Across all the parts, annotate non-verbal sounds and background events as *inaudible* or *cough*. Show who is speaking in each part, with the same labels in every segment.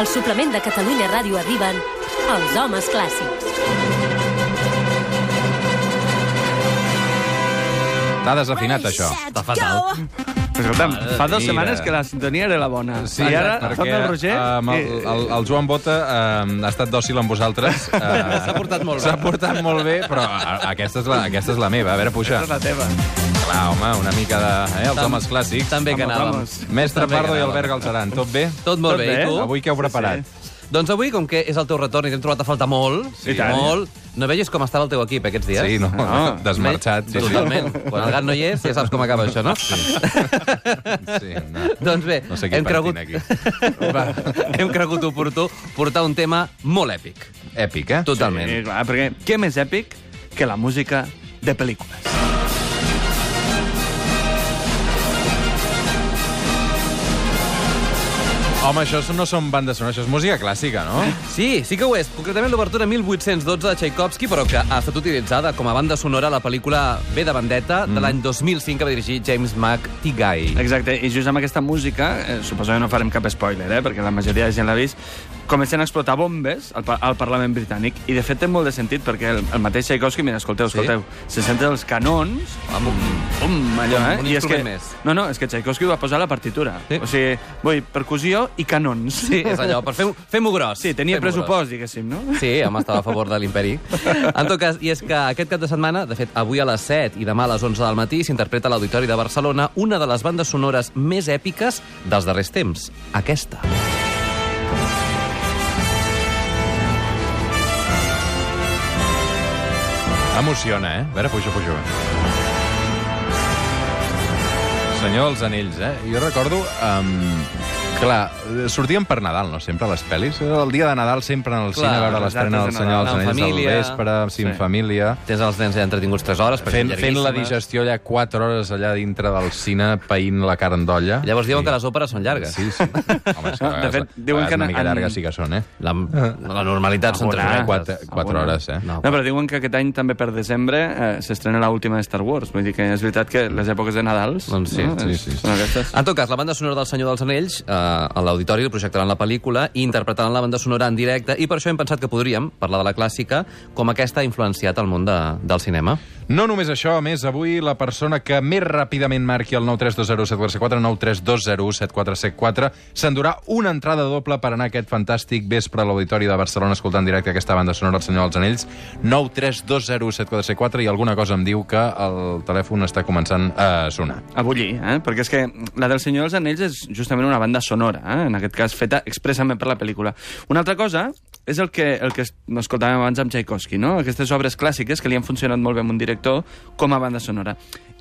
Speaker 1: Al suplement de Catalunya Ràdio arriben els homes clàssics.
Speaker 2: T'ha desafinat, això.
Speaker 3: Està fatal.
Speaker 4: Però escolta'm,
Speaker 2: Mare
Speaker 4: fa
Speaker 2: de
Speaker 4: dues
Speaker 2: vida.
Speaker 4: setmanes que la sintonia era la bona.
Speaker 2: Sí,
Speaker 4: I ara,
Speaker 2: perquè,
Speaker 4: torna el Roger...
Speaker 2: ehm, el, el, el Joan Bota eh, ha estat dòcil amb
Speaker 3: *laughs*
Speaker 2: vosaltres. Eh, S'ha
Speaker 3: portat molt bé.
Speaker 2: S'ha portat molt bé, però a- aquesta és la, aquesta és la meva. A veure, puja.
Speaker 4: És la teva.
Speaker 2: Clar, home, una mica de... Eh, els
Speaker 3: Tam-
Speaker 2: homes clàssics.
Speaker 3: També que
Speaker 4: Vamos,
Speaker 3: anàvem.
Speaker 4: vamos.
Speaker 2: Mestre
Speaker 3: també que
Speaker 2: Pardo i
Speaker 3: anàvem.
Speaker 2: Albert Galceran, tot bé?
Speaker 3: Tot molt
Speaker 4: Tot
Speaker 3: bé,
Speaker 4: bé?
Speaker 3: i tu?
Speaker 2: Avui què heu preparat?
Speaker 3: Doncs avui, com que és el teu retorn i t'hem trobat a faltar molt,
Speaker 4: I tant.
Speaker 3: molt, no veies com estava el teu equip aquests dies?
Speaker 2: Sí, no?
Speaker 4: Ah.
Speaker 2: *laughs* Desmarxat. Sí, sí. *laughs*
Speaker 3: Totalment. Quan el gat no hi és, ja saps com acaba això, no? Sí.
Speaker 2: Sí, no.
Speaker 3: *laughs* Doncs bé,
Speaker 2: No sé qui
Speaker 3: hem, cregut,
Speaker 2: pentina aquí.
Speaker 3: *laughs* Va, hem cregut oportú portar un tema molt èpic.
Speaker 2: Èpic, eh?
Speaker 3: Totalment.
Speaker 4: Sí, clar, perquè què més èpic que la música de pel·lícules?
Speaker 2: Home, això no són bandes sonores, això és música clàssica, no?
Speaker 3: Sí, sí que ho és. Concretament l'obertura 1812 de Tchaikovsky, però que ha estat utilitzada com a banda sonora a la pel·lícula B de Vendetta
Speaker 2: Mm.
Speaker 3: de l'any 2005 que va dirigir James McTigay.
Speaker 4: Exacte, i just amb aquesta música, eh, suposo que no farem cap spoiler, eh, perquè la majoria de gent l'ha vist, comencen a explotar bombes al, pa- al Parlament britànic, i de fet té molt de sentit, perquè el, el mateix Tchaikovsky, mira, escolteu,
Speaker 3: Sí?
Speaker 4: escolteu, sí? se senten els canons,
Speaker 3: Amb un...
Speaker 4: pum, allò, eh?
Speaker 3: un
Speaker 4: I és que,
Speaker 3: instrument més.
Speaker 4: No, no, és que Tchaikovsky ho va posar a la partitura.
Speaker 3: Sí.
Speaker 4: O sigui, vull, percussió i canons.
Speaker 3: Sí, és allò, per fer-ho fem gros.
Speaker 4: Sí, tenia
Speaker 3: Fem-ho
Speaker 4: pressupost, diguéssim, no?
Speaker 3: Gros. Sí, home, estava a favor de l'imperi. En tot cas, i és que aquest cap de setmana, de fet, avui a les 7 i demà a les 11 del matí, s'interpreta a l'Auditori de Barcelona una de les bandes sonores més èpiques dels darrers temps. Aquesta.
Speaker 2: Emociona, eh? A veure, puja, puja. Senyor dels Anells, eh? Jo recordo... Um, clar, eh, sortíem per Nadal, no? Sempre a les pel·lis. Era el dia de Nadal sempre en el
Speaker 3: Clar,
Speaker 2: cine a veure
Speaker 4: les
Speaker 2: l'estrena del
Speaker 4: dates de
Speaker 2: Senyor dels
Speaker 3: Nadal.
Speaker 2: Anells
Speaker 3: En família.
Speaker 2: al vespre, sí. en
Speaker 4: Sí.
Speaker 2: família.
Speaker 3: Tens els nens allà entretinguts 3 hores, perquè
Speaker 2: Fent,
Speaker 3: són
Speaker 2: fent la
Speaker 3: llarguíssimes.
Speaker 2: digestió allà 4 hores allà dintre del cine, païnt la carn d'olla.
Speaker 3: Llavors diuen que les òperes són llargues.
Speaker 2: Sí,
Speaker 3: *laughs*
Speaker 2: sí. Home, és que a
Speaker 4: De
Speaker 2: vegades,
Speaker 4: fet,
Speaker 2: a
Speaker 4: diuen
Speaker 2: vegades
Speaker 4: que
Speaker 2: una mica
Speaker 4: en-
Speaker 2: llargues sí que són, eh?
Speaker 3: La, la normalitat són 3
Speaker 4: Alguna.
Speaker 3: hores.
Speaker 2: 4, 4
Speaker 4: Alguna.
Speaker 2: hores, eh?
Speaker 3: No.
Speaker 4: No, però diuen que aquest any també per desembre eh, s'estrena l'última de Star Wars. Vull dir que és veritat que les èpoques de Nadals...
Speaker 3: Doncs sí,
Speaker 4: no?
Speaker 2: sí, sí, sí.
Speaker 4: Són aquestes.
Speaker 3: En tot cas, la banda sonora del Senyor dels Anells, eh, a l'auditori li projectaran la pel·lícula i interpretaran la banda sonora en directe, i per això hem pensat que podríem parlar de la clàssica, com aquesta ha influenciat el món de, del cinema.
Speaker 2: No només això, a més, avui la persona que més ràpidament marqui el 9320744, 9320744, s'endurà una entrada doble per anar aquest fantàstic vespre a l'Auditori de Barcelona escoltant en directe aquesta banda sonora del Senyor dels Anells. 9320744 i alguna cosa em diu que el telèfon està començant a sonar.
Speaker 4: A bullir, eh? Perquè és que la del Senyor dels Anells és justament una banda sonora, eh? en aquest cas feta expressament per la pel·lícula. Una altra cosa és el que, el que es- escoltàvem abans amb Tchaikovsky, no? Aquestes obres clàssiques que li han funcionat molt bé a un director com a banda sonora.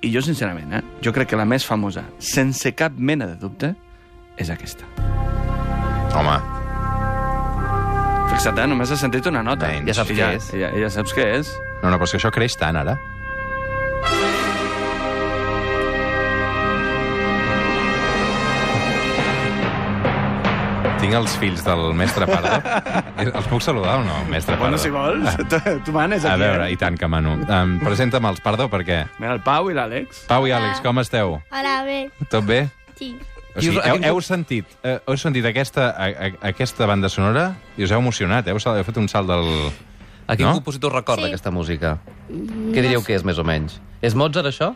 Speaker 4: I jo, sincerament, eh? jo crec que la més famosa, sense cap mena de dubte, és aquesta.
Speaker 2: Home,
Speaker 4: Fixa't, eh? només has sentit una nota.
Speaker 2: Menys.
Speaker 3: Ja saps
Speaker 4: I
Speaker 3: què és.
Speaker 4: Ja, ja saps què és.
Speaker 2: no, no, però és que això creix tant, ara. Tinc els fills del mestre
Speaker 4: *laughs*
Speaker 2: Pardo. Els puc saludar o no, mestre Pardo?
Speaker 4: Bueno, si vols, tu, tu manes
Speaker 2: A
Speaker 4: aquí.
Speaker 2: veure,
Speaker 4: eh?
Speaker 2: i tant que mano. Um, Presenta'm els, perdó, perquè...
Speaker 4: Mira, el Pau i l'Àlex.
Speaker 2: Pau i Àlex, com esteu?
Speaker 5: Hola, bé,
Speaker 2: Tot bé?
Speaker 5: sí.
Speaker 2: O sigui,
Speaker 3: Qui us-
Speaker 2: heu,
Speaker 3: quin-
Speaker 2: heu sentit, eh, heu sentit aquesta, a, a, aquesta banda sonora i us heu emocionat, heu, sal- heu fet un salt del...
Speaker 3: A quin
Speaker 2: No?
Speaker 3: no? compositor recorda sí.
Speaker 5: Sí.
Speaker 3: aquesta música? Mm, Què diríeu que és, més o menys? És Mozart, això?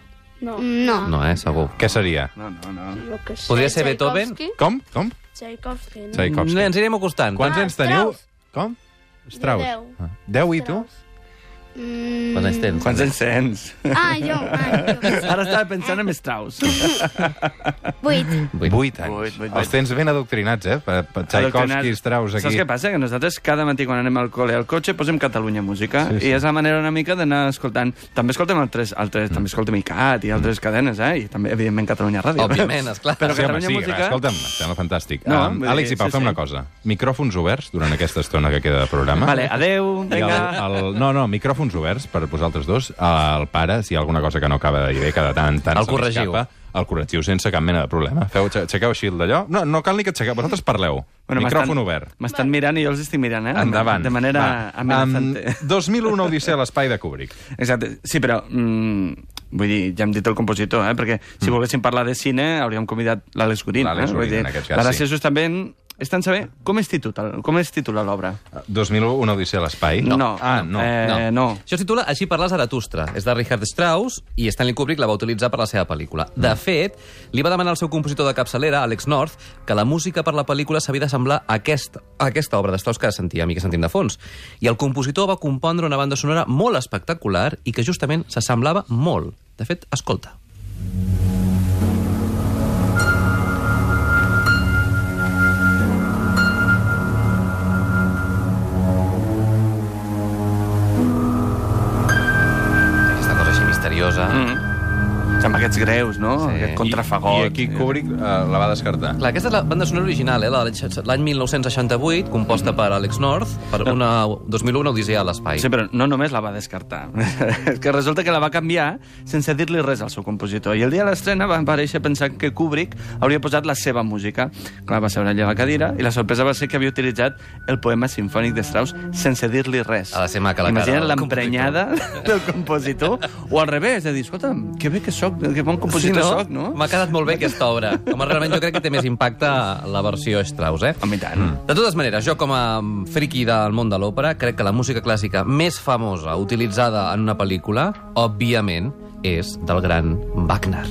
Speaker 5: No. No.
Speaker 3: No, eh? Segur.
Speaker 2: Què seria?
Speaker 4: No, no, no.
Speaker 5: Lo que sé,
Speaker 3: Podria ser Beethoven?
Speaker 5: Tchaikovsky.
Speaker 2: Com? Com?
Speaker 5: Tchaikovsky, no?
Speaker 2: Tchaikovsky.
Speaker 3: Ens anirem acostant.
Speaker 2: Quants
Speaker 5: Ah,
Speaker 2: anys teniu?
Speaker 5: Strauss.
Speaker 2: Com? Strauss.
Speaker 5: Deu.
Speaker 2: Ah, Deu i tu?
Speaker 5: Mm...
Speaker 3: Quants anys tens?
Speaker 4: Quants anys tens?
Speaker 5: Ah, jo, ah, jo.
Speaker 4: Ara estava pensant en Strauss.
Speaker 5: Vuit.
Speaker 3: Vuit.
Speaker 2: Vuit anys.
Speaker 4: Vuit, vuit,
Speaker 2: Els tens ben adoctrinats, eh? Per, per Tchaikovsky, Strauss, aquí.
Speaker 4: Saps què passa? Que nosaltres cada matí quan anem al col·le al cotxe posem Catalunya Música sí, sí. i és la manera una mica d'anar escoltant. També escoltem altres, altres mm. també escoltem ICAT i
Speaker 2: Mm.
Speaker 4: altres cadenes, eh? I també, evidentment, Catalunya Ràdio.
Speaker 3: Òbviament, esclar.
Speaker 4: Però
Speaker 2: Sí, home,
Speaker 4: Catalunya
Speaker 2: sí,
Speaker 4: Música...
Speaker 2: escolta'm, sembla fantàstic.
Speaker 4: No,
Speaker 2: um,
Speaker 4: vull dir,
Speaker 2: Àlex i Pau,
Speaker 4: sí,
Speaker 2: fem
Speaker 4: sí.
Speaker 2: una cosa. Micròfons oberts durant aquesta estona que queda de programa.
Speaker 4: Vale, adeu,
Speaker 2: I
Speaker 4: vinga.
Speaker 2: El, el, no, no, micròfons oberts per vosaltres dos. El pare, si hi ha alguna cosa que no acaba de dir bé, que de tant en tant
Speaker 3: El
Speaker 2: se li
Speaker 3: corregiu.
Speaker 2: escapa, el correctiu sense cap mena de problema. Feu, xe- aixequeu així el d'allò. No, no cal ni que aixequeu, vosaltres parleu. Bueno, Micròfon
Speaker 4: m'estan-
Speaker 2: obert.
Speaker 4: M'estan mirant i jo els estic mirant, eh?
Speaker 2: Endavant.
Speaker 4: De manera
Speaker 2: Va.
Speaker 4: amenaçante.
Speaker 2: Em, 2001, una odissea a l'espai de Kubrick.
Speaker 4: Exacte. Sí, però... Mm, vull dir, ja hem dit el compositor, eh? Perquè si volguéssim parlar de cine hauríem convidat l'Àlex Gurin.
Speaker 2: Mm. L'Àlex
Speaker 4: eh?
Speaker 2: Gurin,
Speaker 4: Vull dir,
Speaker 2: en aquest cas,
Speaker 4: La gràcia
Speaker 2: sí.
Speaker 4: justament és tant saber com es titula, com es titula l'obra.
Speaker 2: 2001, una odissea a l'espai? Ah, no. Eh...
Speaker 4: Eh, no.
Speaker 3: Això es titula Així parla Zaratustra. És de Richard Strauss i Stanley Kubrick la va utilitzar per la seva pel·lícula. De fet, li va demanar al seu compositor de capçalera, Alex North, que la música per la pel·lícula s'havia de semblar a aquesta, a aquesta obra de Strauss que sentíem i que sentim de fons. I el compositor va compondre una banda sonora molt espectacular i que justament s'assemblava molt. De fet, escolta. Aquesta cosa així misteriosa.
Speaker 4: Mm. Amb aquests greus, no?
Speaker 3: Sí.
Speaker 4: Aquest
Speaker 2: I
Speaker 4: contrafagot.
Speaker 2: aquí Kubrick eh, la va descartar.
Speaker 3: Clar, aquesta és la banda sonora original, eh? la de l'any 1968, composta per Alex North, per una 2001 Odissea a l'espai.
Speaker 4: Sí, però no només la va descartar. és que resulta que la va canviar sense dir-li res al seu compositor. I el dia de l'estrena va aparèixer pensant que Kubrick hauria posat la seva música. Clar, va seure allà a la cadira i la sorpresa va ser que havia utilitzat el poema sinfònic de Strauss sense dir-li res.
Speaker 3: Ha de ser maca la cara
Speaker 4: Imagina't
Speaker 3: del
Speaker 4: l'emprenyada del compositor. o al revés, de dir, escolta'm, que bé que soc, que bon compositor
Speaker 3: no?
Speaker 4: soc, no?
Speaker 3: M'ha quedat molt bé aquesta obra. Home, realment jo crec que té més impacte la versió Strauss, eh?
Speaker 4: Home, i tant.
Speaker 3: De totes maneres, jo com a friki del món de l'òpera, crec que la música clàssica més famosa utilitzada en una pel·lícula, òbviament, és del gran Wagner.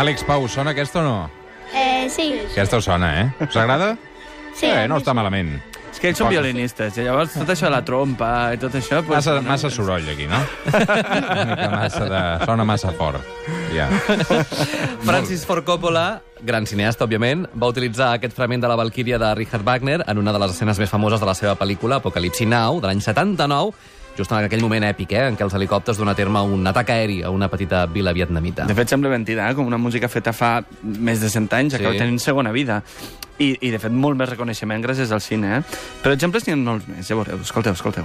Speaker 2: Àlex Pau, sona aquesta o no?
Speaker 5: Eh, sí.
Speaker 2: Aquesta us sona, eh? Us agrada?
Speaker 5: Sí.
Speaker 2: Eh, no està malament.
Speaker 4: És que ells són violinistes, i llavors tot això de la trompa i tot això... Doncs,
Speaker 2: Massa, massa soroll, aquí, no? Una mica massa de... Sona massa fort. Ja.
Speaker 3: Francis Ford Coppola, gran cineasta, òbviament, va utilitzar aquest fragment de la Valquíria de Richard Wagner en una de les escenes més famoses de la seva pel·lícula, Apocalipsi Now, de l'any 79, just en aquell moment èpic, eh, en què els helicòpters duen a terme un atac aeri a una petita vila vietnamita.
Speaker 4: De fet, sembla mentida, eh? com una música feta fa més de 100 anys,
Speaker 3: Sí.
Speaker 4: sí. acaba tenint segona vida. I, I, de fet, molt més reconeixement gràcies al cine. Eh? Però exemples n'hi ha molts més, ja veureu. Escolteu, escolteu.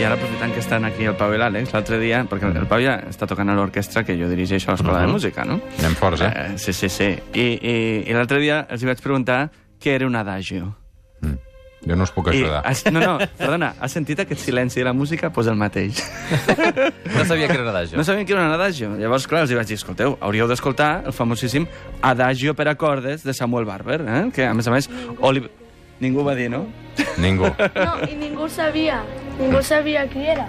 Speaker 4: I ara, aprofitant que estan aquí el Pau i l'Àlex, l'altre dia, perquè el Pau ja està tocant a l'orquestra que jo dirigeixo a l'Escola de Música, no?
Speaker 2: Anem forts, eh?
Speaker 4: Eh, sí, sí, sí. I, i, i l'altre dia els hi vaig preguntar què era un adagio.
Speaker 2: Jo no us puc
Speaker 4: I,
Speaker 2: ajudar.
Speaker 4: has, no, no, perdona, has sentit aquest silenci de la música? Doncs pues el mateix.
Speaker 3: No sabia que era d'ajut.
Speaker 4: No sabien que era un adagio. Llavors, clar, els hi vaig dir, escolteu, hauríeu d'escoltar el famosíssim adagio per a cordes de Samuel Barber, eh? que, a més a més, Oliver... Ningú va dir, no?
Speaker 2: Ningú.
Speaker 5: No, i ningú sabia. Ningú sabia qui era.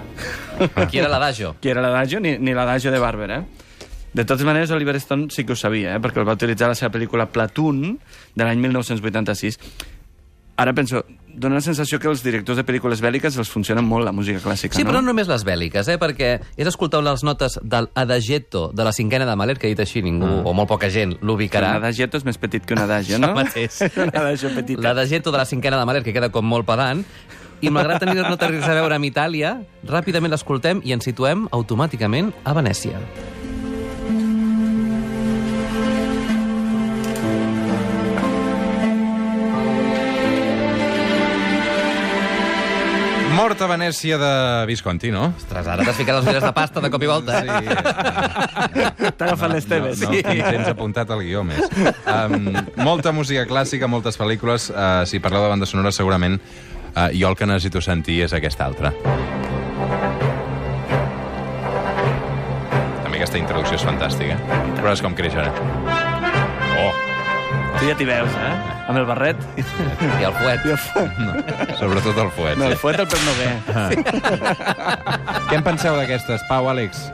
Speaker 3: Qui era l'adagio?
Speaker 4: Qui era l'adagio ni, ni l'adagio de Barber, eh? De totes maneres, Oliver Stone sí que ho sabia, eh? perquè el va utilitzar a la seva pel·lícula Platoon de l'any 1986. Ara penso, dona la sensació que els directors de pel·lícules bèl·liques els funciona molt la música clàssica,
Speaker 3: Sí,
Speaker 4: no?
Speaker 3: però no només les bèl·liques, eh? perquè és escoltar les notes del Adagetto de la cinquena de Mahler, que ha dit així ningú, o molt poca gent,
Speaker 4: Un
Speaker 3: l'ubicarà.
Speaker 4: adagietto és més petit que un adagio, no?
Speaker 3: Això mateix.
Speaker 4: *laughs* un adagio petit.
Speaker 3: La de Gento de la cinquena de Mahler, que queda com molt pedant, i malgrat tenir no tenir res a veure amb Itàlia, ràpidament l'escoltem i ens situem automàticament a Venècia.
Speaker 2: Mort a Venècia de Visconti, no?
Speaker 3: Ostres, ara t'has ficat els ulleres de pasta de cop i volta. eh?
Speaker 4: T'ha agafat les
Speaker 2: No, no,
Speaker 4: teves.
Speaker 2: sí. tens apuntat el guió més. Um, molta música clàssica, moltes pel·lícules. Uh, si parleu de banda sonora, segurament uh, jo el que necessito sentir és aquesta altra. També aquesta introducció és fantàstica. Però és com creix ara. Oh, *laughs*
Speaker 4: Tu ja t'hi veus, eh? Amb el barret.
Speaker 3: I el fuet.
Speaker 2: no. sobretot el fuet.
Speaker 4: No,
Speaker 2: No.
Speaker 4: el fuet el Pep *laughs* Noguer.
Speaker 2: Què en penseu d'aquestes, Pau, Àlex?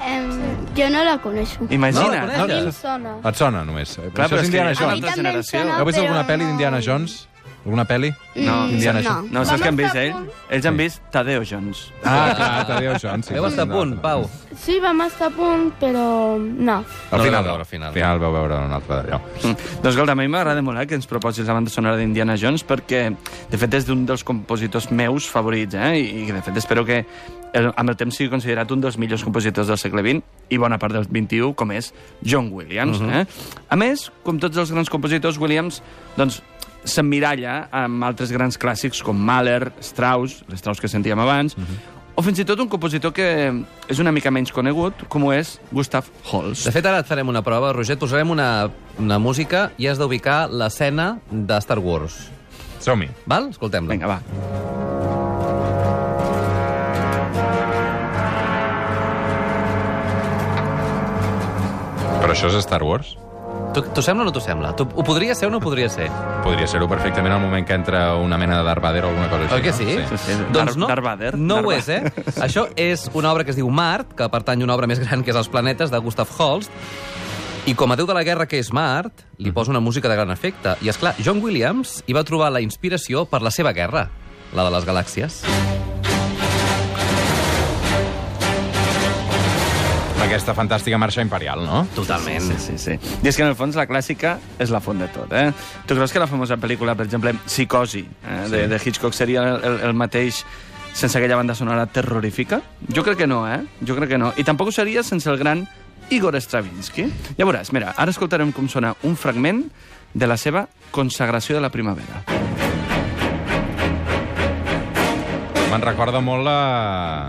Speaker 5: Em, jo no la coneixo.
Speaker 4: Imagina't.
Speaker 3: No,
Speaker 4: No,
Speaker 5: A mi em
Speaker 3: Ella.
Speaker 5: sona.
Speaker 2: Et sona, només? Clar,
Speaker 4: però
Speaker 2: Això Ah,
Speaker 4: és
Speaker 2: és Indiana
Speaker 4: que-
Speaker 5: A
Speaker 2: Jones.
Speaker 5: mi també em
Speaker 4: generació.
Speaker 5: sona,
Speaker 2: Heu vist
Speaker 5: però
Speaker 2: alguna pel·li
Speaker 5: no-
Speaker 2: d'Indiana Jones? Alguna pel·li? No, Indiana
Speaker 6: no.
Speaker 2: Jones.
Speaker 4: No, saps
Speaker 5: Vam
Speaker 4: que han vist
Speaker 5: estar a
Speaker 4: ell?
Speaker 5: punt.
Speaker 4: Ells han vist Tadeo Jones.
Speaker 2: Ah, clar, Tadeu Jones. Sí,
Speaker 3: Veu estar a punt, Pau.
Speaker 5: Sí, vam estar a punt, però no.
Speaker 2: Al
Speaker 3: No
Speaker 2: final,
Speaker 3: la vau veure,
Speaker 2: al
Speaker 3: al
Speaker 2: final. Al
Speaker 3: final.
Speaker 2: final vau veure en un altre d'allò.
Speaker 4: Mm. Doncs escolta, a mi m'agrada molt eh, que ens proposis la banda sonora d'Indiana Jones perquè, de fet, és d'un dels compositors meus favorits, eh? I, i de fet espero que el, amb el temps sigui considerat un dels millors compositors del segle XX i bona part del XXI, com és John Williams.
Speaker 3: Mhm.
Speaker 4: eh? A més, com tots els grans compositors, Williams, doncs, s'emmiralla amb altres grans clàssics com Mahler, Strauss, l'Strauss que sentíem abans,
Speaker 3: Mhm.
Speaker 4: o fins i tot un compositor que és una mica menys conegut, com ho és Gustav Holst.
Speaker 3: De fet, ara et farem una prova, Roger, et posarem una, una música i has d'ubicar l'escena de Star Wars.
Speaker 2: Som-hi.
Speaker 3: Val? Escoltem-la.
Speaker 4: Vinga, va.
Speaker 2: Però això és Star Wars?
Speaker 3: T'ho t'ho sembla o no t'ho sembla? T'ho- Ho podria ser o no ho podria ser?
Speaker 2: Podria ser-ho perfectament al moment que entra una mena de Darth Vader o alguna cosa així.
Speaker 3: Oi que sí?
Speaker 2: No?
Speaker 4: Sí, sí.
Speaker 3: Doncs
Speaker 4: Dar-
Speaker 3: no,
Speaker 4: Darth Vader. *laughs*
Speaker 3: no ho és,
Speaker 4: Darth
Speaker 3: eh? Això és una obra que es diu Mart, que pertany a una obra més gran que és Els planetes, de Gustav Holst, i com a déu de la guerra que és Mart,
Speaker 4: Mm-hmm.
Speaker 3: li posa una música de gran efecte. I, és clar, John Williams hi va trobar la inspiració per la seva guerra, la de les galàxies.
Speaker 2: Aquesta fantàstica marxa imperial, no?
Speaker 3: Totalment.
Speaker 4: Sí, sí, sí. I és que, en el fons, la clàssica és la font de tot, eh? Tu creus que la famosa pel·lícula, per exemple, Psicosi, eh, de, de Hitchcock, seria el, el, el mateix sense aquella banda sonora terrorífica? Jo crec que no, eh? Jo crec que no. I tampoc ho seria sense el gran Igor Stravinsky. Ja veuràs, mira, ara escoltarem com sona un fragment de la seva consagració de la primavera.
Speaker 2: Me'n recorda molt la...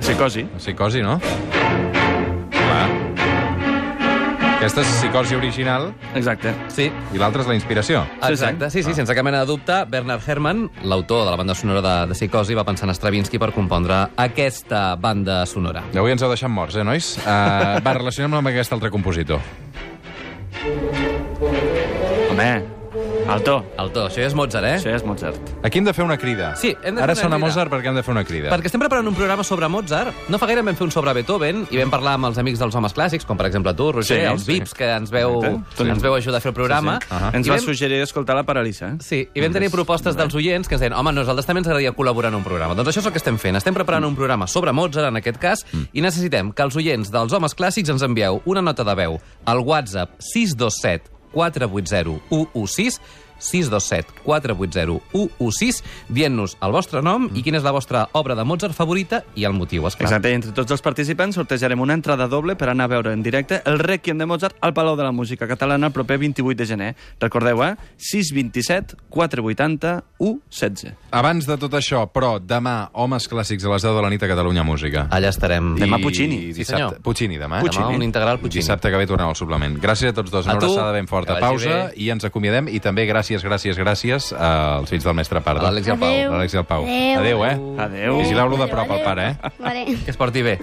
Speaker 4: Psicosi.
Speaker 2: Psicosi, no? Clar. Aquesta és psicosi original
Speaker 4: Exacte.
Speaker 3: Sí,
Speaker 2: i l'altra és la inspiració.
Speaker 4: Sí, Ah.
Speaker 3: Exacte, sí, sí, sense cap mena de dubte, Bernard Herrmann, l'autor de la banda sonora de, de Psicosi, va pensar en Stravinsky per compondre aquesta banda sonora.
Speaker 2: Avui ens heu deixat morts, eh, nois? Uh, va, relacionem-la amb aquest altre compositor.
Speaker 4: Home, alto.
Speaker 3: El to, això ja és Mozart, eh?
Speaker 4: Això ja és Mozart.
Speaker 2: Aquí hem de fer una crida.
Speaker 3: Sí, hem de fer
Speaker 2: Ara
Speaker 3: una
Speaker 2: sona
Speaker 3: crida.
Speaker 2: Mozart perquè hem de fer una crida.
Speaker 3: Perquè estem preparant un programa sobre Mozart. No fa gaire vam fer un sobre Beethoven i vam parlar amb els amics dels homes clàssics, com per exemple tu, Roger,
Speaker 4: Sí,
Speaker 3: els
Speaker 4: sí.
Speaker 3: VIPs, que ens veu,
Speaker 4: Exacte.
Speaker 3: ens veu ajudar a fer el programa.
Speaker 4: Sí, sí. Uh -huh. Ens
Speaker 3: I
Speaker 4: va
Speaker 3: vam-
Speaker 4: suggerir escoltar la Paralisa. Eh?
Speaker 3: Sí, i vam tenir propostes dels oients que ens deien home, nosaltres també ens agradaria col·laborar en un programa. Doncs això és el que estem fent. Estem preparant un programa sobre Mozart, en aquest cas,
Speaker 4: Mm.
Speaker 3: i necessitem que els oients dels homes clàssics ens envieu una nota de veu al WhatsApp 627 480 116 627 480 116 dient-nos el vostre nom i quina és la vostra obra de Mozart favorita i el motiu, esclar.
Speaker 4: Mm. Exacte, i entre tots els participants sortejarem una entrada doble per anar a veure en directe el Requiem de Mozart al Palau de la Música Catalana el proper 28 de gener. Recordeu, eh? 627 480 116.
Speaker 2: Abans de tot això, però, demà, homes clàssics a les 10 de la nit a Catalunya Música.
Speaker 3: Allà estarem.
Speaker 4: Demà
Speaker 2: I
Speaker 4: Puccini.
Speaker 3: Sí,
Speaker 2: Dissabte,
Speaker 3: senyor.
Speaker 2: Puccini, demà. eh?
Speaker 3: Demà un integral Puccini.
Speaker 2: Dissabte que ve tornem al suplement. Gràcies a tots dos.
Speaker 3: A
Speaker 2: Una
Speaker 3: tu,
Speaker 2: abraçada ben
Speaker 3: que
Speaker 2: forta.
Speaker 3: vagi
Speaker 2: Pausa
Speaker 3: bé.
Speaker 2: i ens acomiadem. I també gràcies, gràcies, gràcies als fills del mestre Pardo.
Speaker 3: A l'Àlex i al Pau.
Speaker 6: Adéu.
Speaker 2: L'Àlex i el Pau.
Speaker 6: Adéu.
Speaker 2: Adéu, eh?
Speaker 4: Adéu.
Speaker 2: Vigileu-lo de prop, el pare, eh?
Speaker 6: Vale.
Speaker 3: Que es porti bé.